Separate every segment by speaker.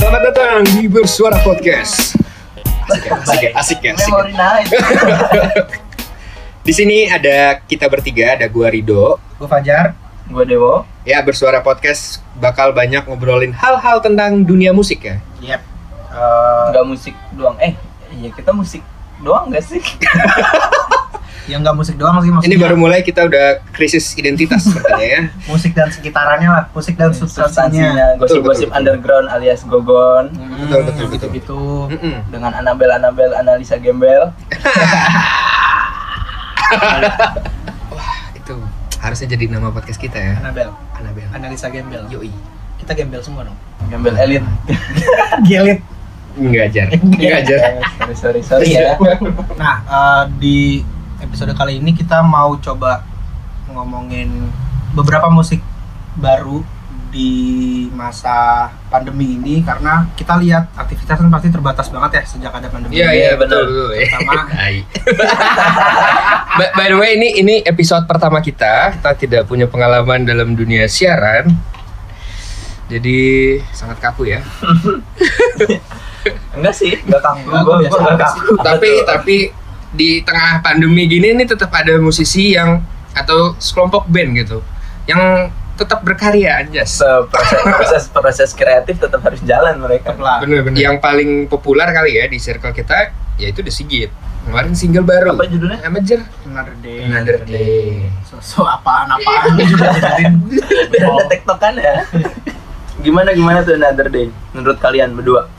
Speaker 1: Selamat datang di Bersuara Podcast. Asik ya, asik ya, asik ya. Asik ya.
Speaker 2: Memori night.
Speaker 1: Di sini ada kita bertiga, ada gua Rido.
Speaker 2: Gue Fajar. Gue Dewo.
Speaker 1: Ya, Bersuara Podcast bakal banyak ngobrolin hal-hal tentang dunia musik ya.
Speaker 2: Yep. Gak musik doang. Eh, iya kita musik doang gak sih?
Speaker 3: yang ya nggak musik doang sih
Speaker 1: Ini
Speaker 3: maksudnya
Speaker 1: baru mulai kita udah krisis identitas sepertinya ya.
Speaker 3: musik dan sekitarannya lah musik dan substansinya
Speaker 2: Substansinya
Speaker 1: Betul, betul,
Speaker 2: gosip-gosip
Speaker 1: betul.
Speaker 2: underground alias gogon
Speaker 1: Betul, betul, betul.
Speaker 3: gitu gitu
Speaker 1: Mm-mm.
Speaker 2: dengan Anabel Anabel analisa gembel.
Speaker 1: Itu harusnya jadi nama podcast kita ya.
Speaker 3: Anabel
Speaker 1: Anabel.
Speaker 3: analisa gembel
Speaker 1: Yoi.
Speaker 3: kita gembel semua dong
Speaker 2: Gembel elit.
Speaker 3: gelit
Speaker 1: Enggak ajar. Iya. Enggak ajar.
Speaker 2: sorry sorry sorry ya.
Speaker 3: nah eh, di episode kali ini kita mau coba ngomongin beberapa musik baru di masa pandemi ini karena kita lihat aktivitas kan pasti terbatas banget ya sejak ada
Speaker 1: Iya,
Speaker 3: pandemi
Speaker 1: iya,
Speaker 2: Iya,
Speaker 1: betul.
Speaker 2: benar.
Speaker 1: betul.
Speaker 3: Pertama.
Speaker 1: Hai. by, by the way, ini ini episode pertama kita. Kita tidak punya pengalaman dalam dunia siaran. Jadi sangat kaku ya.
Speaker 2: Enggak sih, enggak kaku.
Speaker 3: Enggak,
Speaker 2: Gua
Speaker 3: gua biasa
Speaker 2: enggak
Speaker 3: aja
Speaker 2: kaku.
Speaker 1: tapi
Speaker 2: Betul.
Speaker 1: tapi di tengah pandemi gini ini tetap ada musisi yang atau sekelompok band gitu yang tetap berkarya aja.
Speaker 2: proses proses proses kreatif tetap harus jalan mereka.
Speaker 3: tetap lah
Speaker 1: Bener-bener. Yang paling populer kali ya di circle kita yaitu The Sigit. Kemarin single baru.
Speaker 2: Apa judulnya?
Speaker 1: Amager.
Speaker 3: another day
Speaker 1: Another Day.
Speaker 3: so, so apaan apaan juga dijadiin.
Speaker 2: Biar ada tektokan ya. gimana gimana tuh another day menurut kalian berdua?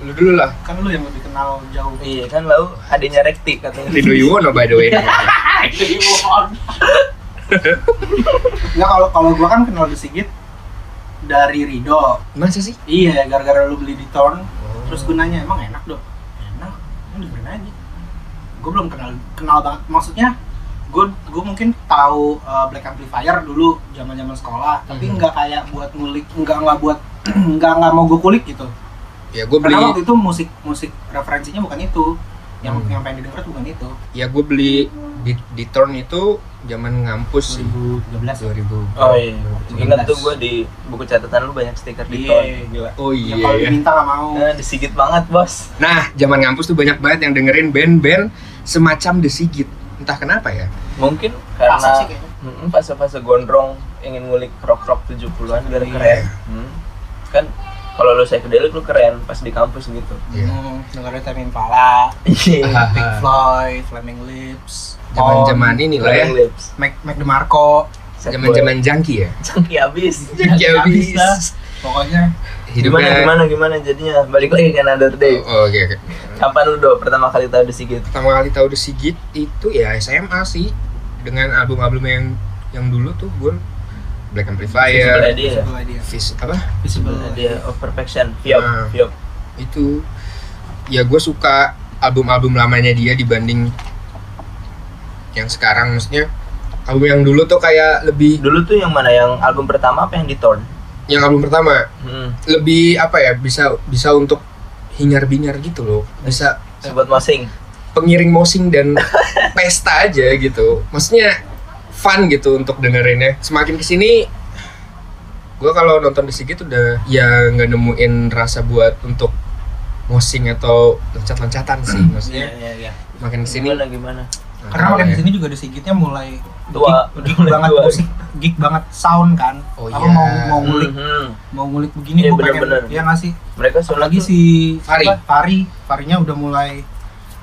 Speaker 1: Lu dulu lah.
Speaker 3: kan lu yang lebih kenal jauh
Speaker 2: Iya kan lau adanya rekti katanya.
Speaker 1: Rido Yuwono by the way.
Speaker 3: Enggak kalau kalau gua kan kenal The Sigit dari Rido.
Speaker 1: Masa sih?
Speaker 3: Iya, gara-gara lu beli di Torn. Terus gue nanya, emang enak dong? Enak, ini dengerin aja. Gue belum kenal kenal banget. Maksudnya gue gue mungkin tahu uh, Black Amplifier dulu zaman-zaman sekolah, tapi
Speaker 1: Mhm.
Speaker 3: nggak kayak buat ngulik, nggak nggak buat nggak nggak mau gue kulik gitu.
Speaker 1: Ya gue beli
Speaker 3: Karena waktu itu musik musik referensinya bukan itu. Yang
Speaker 1: Hmm.
Speaker 3: yang pengen didengar tuh bukan itu.
Speaker 1: ya gue beli di, di Torn itu zaman ngampus sih
Speaker 3: 2013.
Speaker 1: 2000.
Speaker 2: Oh iya. Ingat
Speaker 3: 17.
Speaker 2: tuh gue di buku catatan lu banyak stiker di
Speaker 3: Iya, Eh,
Speaker 2: ton.
Speaker 3: gila.
Speaker 1: Oh
Speaker 3: Yang
Speaker 1: iya.
Speaker 3: kalau
Speaker 1: ya.
Speaker 3: diminta nggak mau.
Speaker 2: Nah, disigit banget bos.
Speaker 1: Nah, zaman ngampus tuh banyak banget yang dengerin band-band semacam The Sigit. Entah kenapa ya.
Speaker 2: Mungkin
Speaker 3: Asik sih
Speaker 2: karena
Speaker 3: kayaknya.
Speaker 2: Mm-mm, fase-fase gondrong ingin ngulik rock-rock 70-an biar
Speaker 3: Iya.
Speaker 2: keren. Hmm. Kan kalau lu psychedelic lu keren pas di kampus gitu.
Speaker 1: Iya.
Speaker 3: Hmm, dengerin Tame Impala,
Speaker 2: Iya.
Speaker 3: Pink Floyd, Flaming Lips,
Speaker 1: Zaman-zaman ini lah ya.
Speaker 2: Rolling Lips.
Speaker 3: Tom, Mac, Mac DeMarco,
Speaker 1: iya.
Speaker 2: Sad boy.
Speaker 1: Zaman-zaman junkie ya.
Speaker 2: Cengki abis.
Speaker 1: Junkie
Speaker 3: habis
Speaker 1: abis.
Speaker 3: lah. Pokoknya
Speaker 2: Gimana
Speaker 1: Hidupnya
Speaker 2: gimana gimana jadinya balik lagi ke another day.
Speaker 1: ya. Oh, oke oke.
Speaker 2: Kapan lu do pertama kali tahu disigit?
Speaker 1: Pertama kali tahu The Sigit itu ya SMA sih dengan album-album yang yang dulu tuh gue Black
Speaker 2: Sebelah
Speaker 1: Amplifier,
Speaker 2: dia.
Speaker 3: sebelah dia.
Speaker 1: Fish apa
Speaker 3: Visible
Speaker 2: Sebelah dia of perfection. Fiop,
Speaker 1: Nah.
Speaker 2: fiop.
Speaker 1: itu ya gue suka album-album lamanya dia dibanding yang sekarang maksudnya album yang dulu tuh kayak lebih
Speaker 2: Dulu tuh yang mana yang album pertama apa yang di torn?
Speaker 1: yang album pertama
Speaker 2: Hmm.
Speaker 1: lebih apa ya bisa bisa untuk hingar bingar gitu loh bisa
Speaker 2: Sobat Mosing.
Speaker 1: pengiring mosing dan pesta aja gitu maksudnya fun gitu untuk dengerinnya semakin kesini gue kalau nonton di Sigit udah ya nggak nemuin rasa buat untuk mosing atau loncat loncatan sih maksudnya
Speaker 2: iya iya.
Speaker 1: makin kesini
Speaker 2: Gimana gimana?
Speaker 1: nah,
Speaker 3: Karena makin
Speaker 1: ya.
Speaker 3: kesini juga ada Sigitnya mulai
Speaker 2: Tua,
Speaker 3: geek, geek
Speaker 2: mulai
Speaker 3: banget
Speaker 2: tua.
Speaker 3: musik, geek banget sound kan.
Speaker 1: Oh
Speaker 3: Apa
Speaker 1: iya.
Speaker 3: mau mau ngulik
Speaker 2: Mhm.
Speaker 3: mau ngulik
Speaker 2: Iya,
Speaker 3: begini gue pengen
Speaker 2: bener-bener.
Speaker 3: ya nggak sih?
Speaker 2: Mereka sudah
Speaker 3: Apalagi
Speaker 2: lagi
Speaker 3: si
Speaker 1: Fari.
Speaker 3: siapa? Fari, Farinya udah mulai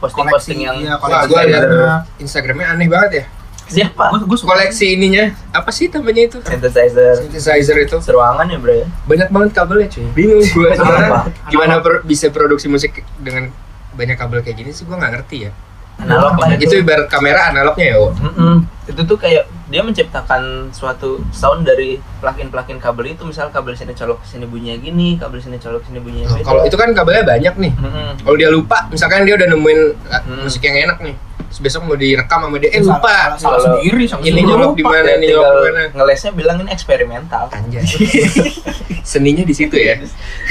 Speaker 2: posting-posting yang
Speaker 3: iya,
Speaker 1: Wah,
Speaker 3: koleksi.
Speaker 1: gue liat
Speaker 3: Iya.
Speaker 1: Nah, Instagramnya aneh banget ya.
Speaker 2: siapa?
Speaker 3: Gue gue
Speaker 1: Koleksi ininya apa sih namanya itu?
Speaker 2: Synthesizer
Speaker 1: Synthesizer itu
Speaker 2: seruangan ya bro ya?
Speaker 1: banyak banget kabelnya cuy. Bingung gue
Speaker 2: Kenapa?
Speaker 1: sebenarnya gimana per- bisa produksi musik dengan banyak kabel kayak gini sih gue nggak ngerti ya.
Speaker 2: Analog lah
Speaker 1: Itu ibarat kamera analognya ya.
Speaker 3: Iya,
Speaker 1: Wo.
Speaker 2: Mm-mm. Itu tuh kayak dia menciptakan suatu sound dari plugin-plugin kabel itu misal kabel sini colok ke sini bunyinya gini, kabel sini colok ke sini bunyinya
Speaker 1: Nah,
Speaker 2: beda.
Speaker 1: Kalau itu kan kabelnya banyak nih.
Speaker 2: Mm-mm.
Speaker 1: Kalau dia lupa, misalkan dia udah nemuin ah,
Speaker 2: Hmm.
Speaker 1: musik yang enak nih, terus besok mau direkam sama dia, eh lupa.
Speaker 3: salah
Speaker 2: Kalau
Speaker 3: sendiri sama
Speaker 1: Ini
Speaker 3: suruh
Speaker 1: nyolok
Speaker 3: lupa.
Speaker 1: di mana,
Speaker 2: Ya,
Speaker 1: ini
Speaker 2: tinggal
Speaker 1: nyolok di mana.
Speaker 2: ngelesnya bilang ini eksperimental.
Speaker 1: Anjay. Seninya di situ ya.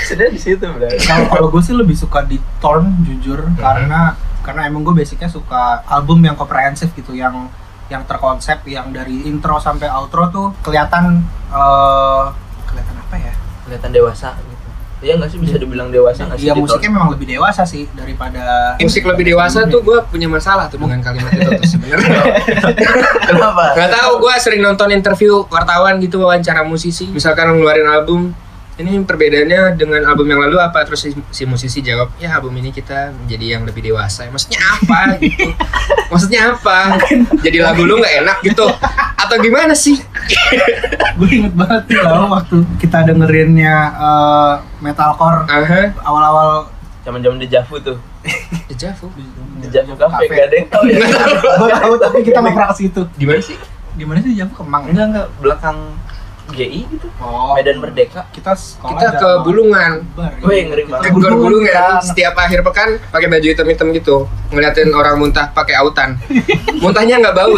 Speaker 2: Sudah di situ bro.
Speaker 3: kalau kalau gue sih lebih suka di Torn jujur karena karena emang gue basicnya suka album yang komprehensif gitu yang yang terkonsep yang dari intro sampai outro tuh kelihatan eh kelihatan apa ya
Speaker 2: Kelihatan dewasa gitu. ya nggak sih bisa dibilang dewasa nggak sih di
Speaker 3: Iya
Speaker 2: tahun-
Speaker 3: musiknya memang lebih dewasa sih daripada
Speaker 1: musik lebih dewasa tuh gue punya masalah tuh dengan kalimat itu tuh sebenarnya
Speaker 2: kenapa
Speaker 1: nggak tahu gue sering nonton interview wartawan gitu wawancara musisi misalkan ngeluarin album ini perbedaannya dengan album yang lalu apa terus si, si musisi jawab ya album ini kita menjadi yang lebih dewasa maksudnya apa gitu maksudnya apa jadi lagu lu nggak enak gitu atau gimana sih
Speaker 3: gue inget banget tuh lalu waktu kita dengerinnya eh, metalcore
Speaker 1: aha
Speaker 3: awal-awal
Speaker 2: zaman zaman dejavu tuh
Speaker 1: dejavu
Speaker 2: dejavu kafe gak ada yang tahu ya
Speaker 3: gue tahu tapi kita nggak pernah ke situ
Speaker 1: gimana sih
Speaker 3: di mana sih Javu Kemang
Speaker 2: enggak enggak belakang GI gitu
Speaker 3: oh
Speaker 2: Medan Merdeka
Speaker 3: kita sekolah
Speaker 1: kita
Speaker 3: ada
Speaker 1: ke
Speaker 3: sama
Speaker 1: Bulungan
Speaker 3: Akbar, ya.
Speaker 2: Wih, ngeri banget.
Speaker 1: ke
Speaker 2: Ke
Speaker 1: gor
Speaker 3: Bulungan,
Speaker 2: ya.
Speaker 1: bulungan
Speaker 3: kan.
Speaker 1: setiap akhir pekan pakai baju hitam-hitam gitu ngeliatin orang muntah pakai autan muntahnya nggak bau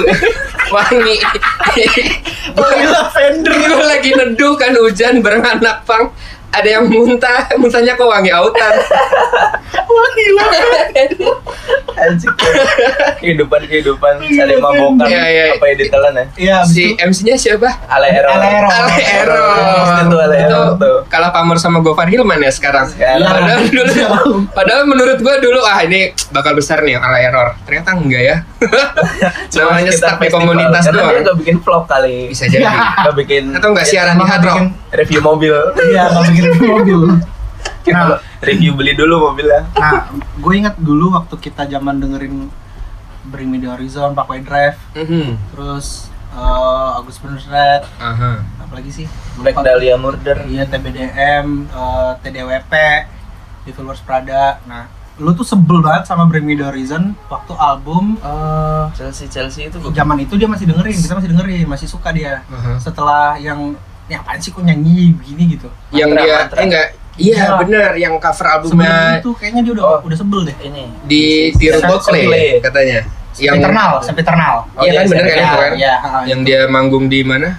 Speaker 1: wangi
Speaker 3: Lavender.
Speaker 1: gue lagi neduh kan hujan bareng anak pang ada yang muntah muntahnya kok wangi autan wangi
Speaker 2: anjing kehidupan kehidupan saling mabokan
Speaker 1: Iya, iya.
Speaker 2: apa yang ditelan ya
Speaker 3: iya abis
Speaker 1: si
Speaker 3: itu
Speaker 1: MC-nya siapa
Speaker 2: ale error
Speaker 3: Ale Error.
Speaker 1: Ale Error.
Speaker 2: itu ale
Speaker 1: itu
Speaker 2: error tuh
Speaker 1: kalah pamor sama Gofar Hilman ya sekarang
Speaker 2: Sekarang.
Speaker 1: padahal dulu
Speaker 2: Iya,
Speaker 1: padahal menurut gue dulu ah ini bakal besar nih ala error ternyata enggak ya
Speaker 2: Cuma
Speaker 1: namanya
Speaker 2: sekitar
Speaker 1: stuck di
Speaker 2: festival.
Speaker 1: komunitas
Speaker 2: karena dia
Speaker 1: doang
Speaker 2: nggak bikin vlog kali
Speaker 1: bisa jadi
Speaker 2: nggak bikin Iya,
Speaker 1: atau nggak siaran di
Speaker 3: Emang
Speaker 1: hard rock
Speaker 3: bikin-
Speaker 2: review mobil
Speaker 3: iya nggak bikin mobil
Speaker 2: Kita review beli dulu mobilnya
Speaker 3: nah gue ingat dulu waktu kita zaman dengerin Bring Me The Horizon, Parkway Drive,
Speaker 1: Mhm.
Speaker 3: terus eh, Agus Bernard,
Speaker 1: aha
Speaker 3: apalagi sih?
Speaker 2: Black Dahlia Murder
Speaker 3: Iya TBDM, eh, TDWP, Devil Wears Prada. Nah, lu tuh sebel banget sama Bring Me The Horizon waktu album eh,
Speaker 2: Chelsea Chelsea itu bukan
Speaker 3: zaman itu dia masih dengerin, kita masih dengerin, masih suka dia.
Speaker 2: Hmm.
Speaker 1: aha
Speaker 3: Setelah yang ini apaan sih kok nyanyi begini gitu.
Speaker 1: yang
Speaker 2: Mantra,
Speaker 1: dia
Speaker 2: mantra.
Speaker 1: eh, enggak iya
Speaker 3: Iya.
Speaker 1: bener yang cover
Speaker 3: Sebelum
Speaker 1: albumnya
Speaker 3: itu kayaknya dia udah
Speaker 2: Oh.
Speaker 3: udah sebel deh.
Speaker 2: ini
Speaker 1: di tiru
Speaker 2: Sampai
Speaker 1: Coldplay
Speaker 2: Coldplay.
Speaker 1: katanya yang
Speaker 3: Sempiternal, sempiternal.
Speaker 2: Oh,
Speaker 1: iya
Speaker 2: iya,
Speaker 1: kan bener kan
Speaker 2: Sempiternal,
Speaker 1: itu kan
Speaker 3: Iya, heeh,
Speaker 1: yang
Speaker 3: itu.
Speaker 1: dia manggung di mana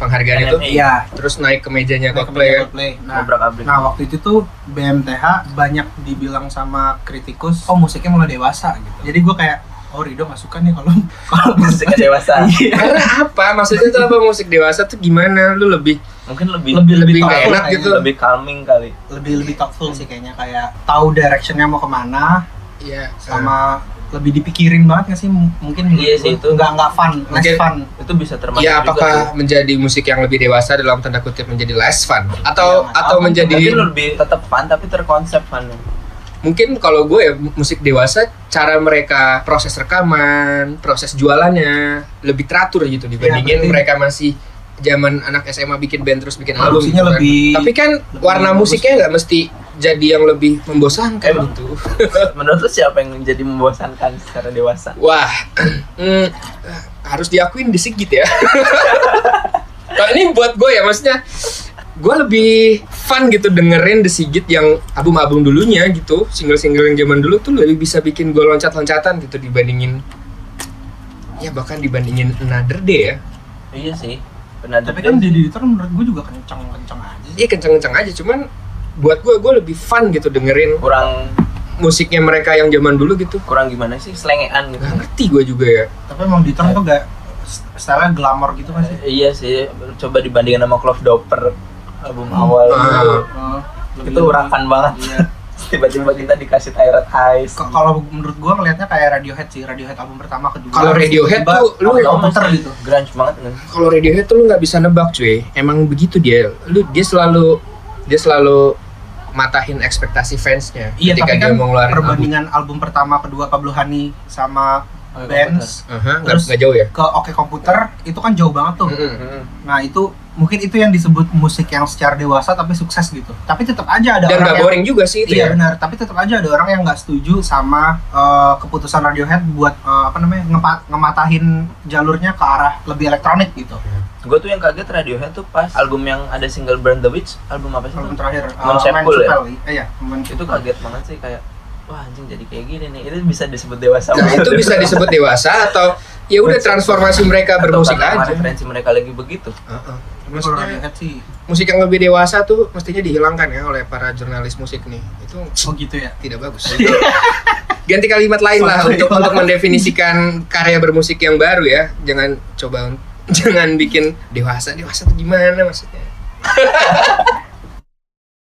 Speaker 1: penghargaan itu
Speaker 2: NME.
Speaker 3: iya.
Speaker 1: terus naik ke mejanya
Speaker 3: Mereka
Speaker 1: Coldplay
Speaker 3: punya
Speaker 1: kan
Speaker 3: Coldplay. Nah,
Speaker 2: ngobrak abrik
Speaker 3: nah waktu itu tuh BMTH banyak dibilang sama kritikus, oh musiknya mulai dewasa gitu. Jadi gue kayak, oh Rido gak suka nih kalau kalau musik
Speaker 2: musiknya dewasa
Speaker 3: Iya.
Speaker 1: karena apa maksudnya tuh apa musik dewasa tuh gimana lu lebih
Speaker 2: mungkin lebih
Speaker 3: lebih
Speaker 1: lebih
Speaker 3: lebih
Speaker 1: nggak
Speaker 3: thoughtful
Speaker 1: enak
Speaker 3: kayaknya.
Speaker 1: gitu.
Speaker 2: lebih calming kali
Speaker 3: Lebih lebih thoughtful sih kayaknya kayak tahu directionnya mau kemana,
Speaker 1: ya
Speaker 3: sama lebih dipikirin banget gak sih M- mungkin
Speaker 2: Iya sih, itu.
Speaker 3: nggak nggak fun, less
Speaker 1: Mungkin-
Speaker 3: fun.
Speaker 2: itu bisa termasuk
Speaker 1: Ya
Speaker 2: juga
Speaker 1: apakah menjadi musik yang lebih dewasa dalam tanda kutip menjadi less fun atau
Speaker 3: Iya, nggak
Speaker 1: atau
Speaker 3: tahu.
Speaker 1: menjadi Eh.
Speaker 2: tapi lebih tetap fun tapi terkonsep fun
Speaker 1: mungkin kalau gue ya musik dewasa cara mereka proses rekaman proses jualannya lebih teratur gitu dibandingin
Speaker 3: Iya, berarti-
Speaker 1: mereka masih zaman anak SMA bikin band terus bikin album
Speaker 3: Produksinya
Speaker 1: gitu kan.
Speaker 3: lebih-
Speaker 1: tapi kan
Speaker 3: lebih
Speaker 1: warna
Speaker 3: bagus.
Speaker 1: musiknya nggak mesti jadi yang lebih membosankan
Speaker 2: Emang?
Speaker 1: gitu
Speaker 2: menurut lu siapa yang menjadi membosankan secara dewasa
Speaker 1: wah hmm, harus diakuin di Sigit ya kalau ini buat gue ya maksudnya gue lebih fun gitu dengerin The Sigit yang album-album dulunya gitu single-single yang zaman dulu tuh lebih bisa bikin gue loncat-loncatan gitu dibandingin ya bahkan dibandingin Another Day ya
Speaker 2: iya sih benar
Speaker 3: Tapi kan jadi editor menurut gue juga kenceng kenceng aja. sih.
Speaker 1: iya kenceng-kenceng aja cuman buat gue gue lebih fun gitu dengerin
Speaker 2: kurang
Speaker 1: musiknya mereka yang zaman dulu gitu
Speaker 2: kurang gimana sih selengean gitu
Speaker 1: nggak ngerti gue juga ya
Speaker 3: Tapi emang editor tuh gak style glamor gitu masih.
Speaker 2: Eh, iya sih coba dibandingin sama Clove Doper album awal
Speaker 1: Ah.
Speaker 2: dulu.
Speaker 3: Hmm. Oh, Lebih-
Speaker 2: itu urakan banget
Speaker 3: Iya.
Speaker 2: tiba-tiba kita dikasih Tyrant Eyes
Speaker 3: K- kalau menurut gua ngelihatnya kayak Radiohead sih Radiohead album pertama kedua
Speaker 1: Kalau Radiohead
Speaker 3: Tiba-
Speaker 1: tuh lu
Speaker 3: Apa ya,
Speaker 2: Lama
Speaker 3: komputer
Speaker 2: sih,
Speaker 3: gitu
Speaker 2: grunge banget kan
Speaker 1: kalau Radiohead tuh lu nggak bisa nebak cuy emang begitu dia lu dia selalu dia selalu matahin ekspektasi fansnya
Speaker 3: iya
Speaker 1: ketika
Speaker 3: tapi
Speaker 1: dia
Speaker 3: kan
Speaker 1: mau ngeluarin album
Speaker 3: perbandingan album. pertama kedua Pablo Hani sama
Speaker 2: Oke,
Speaker 3: Benz
Speaker 1: Aha, nggak
Speaker 3: Terus-
Speaker 1: nggak jauh ya
Speaker 3: ke Oke Komputer itu kan jauh banget tuh
Speaker 1: Mm-mm.
Speaker 2: Mm-mm.
Speaker 3: nah itu mungkin itu yang disebut musik yang secara dewasa tapi sukses gitu tapi tetap aja ada
Speaker 1: dan
Speaker 3: orang
Speaker 1: nggak
Speaker 3: yang
Speaker 1: boring juga sih itu ya
Speaker 3: Iya benar, tapi tetap aja ada orang yang nggak setuju sama eh, keputusan Radiohead buat eh, apa namanya ngepa- ngematahin jalurnya ke arah lebih elektronik gitu.
Speaker 2: gue tuh yang kaget Radiohead tuh pas album yang ada single Burn the Witch album apa sih itu
Speaker 3: Album terakhir eh,
Speaker 2: Moncephalous
Speaker 3: Man's
Speaker 2: ya?
Speaker 3: Spell, i- eh, iya, Moncephalous.
Speaker 2: itu kaget banget sih kayak wah anjing jadi kayak gini nih itu bisa disebut dewasa
Speaker 1: nah itu bisa disebut dewasa atau ya udah transformasi mereka
Speaker 2: Atau
Speaker 1: bermusik
Speaker 2: karena
Speaker 1: aja
Speaker 2: referensi mereka lagi begitu
Speaker 1: Heeh.
Speaker 3: Tapi kalau
Speaker 1: Maksudnya
Speaker 3: Radiohead sih,
Speaker 1: musik yang lebih dewasa tuh mestinya dihilangkan ya oleh para jurnalis musik nih itu
Speaker 3: oh gitu ya.
Speaker 1: tidak bagus ganti kalimat lain lah
Speaker 3: Sorry.
Speaker 1: untuk untuk mendefinisikan karya bermusik yang baru ya jangan coba jangan bikin dewasa dewasa tuh gimana maksudnya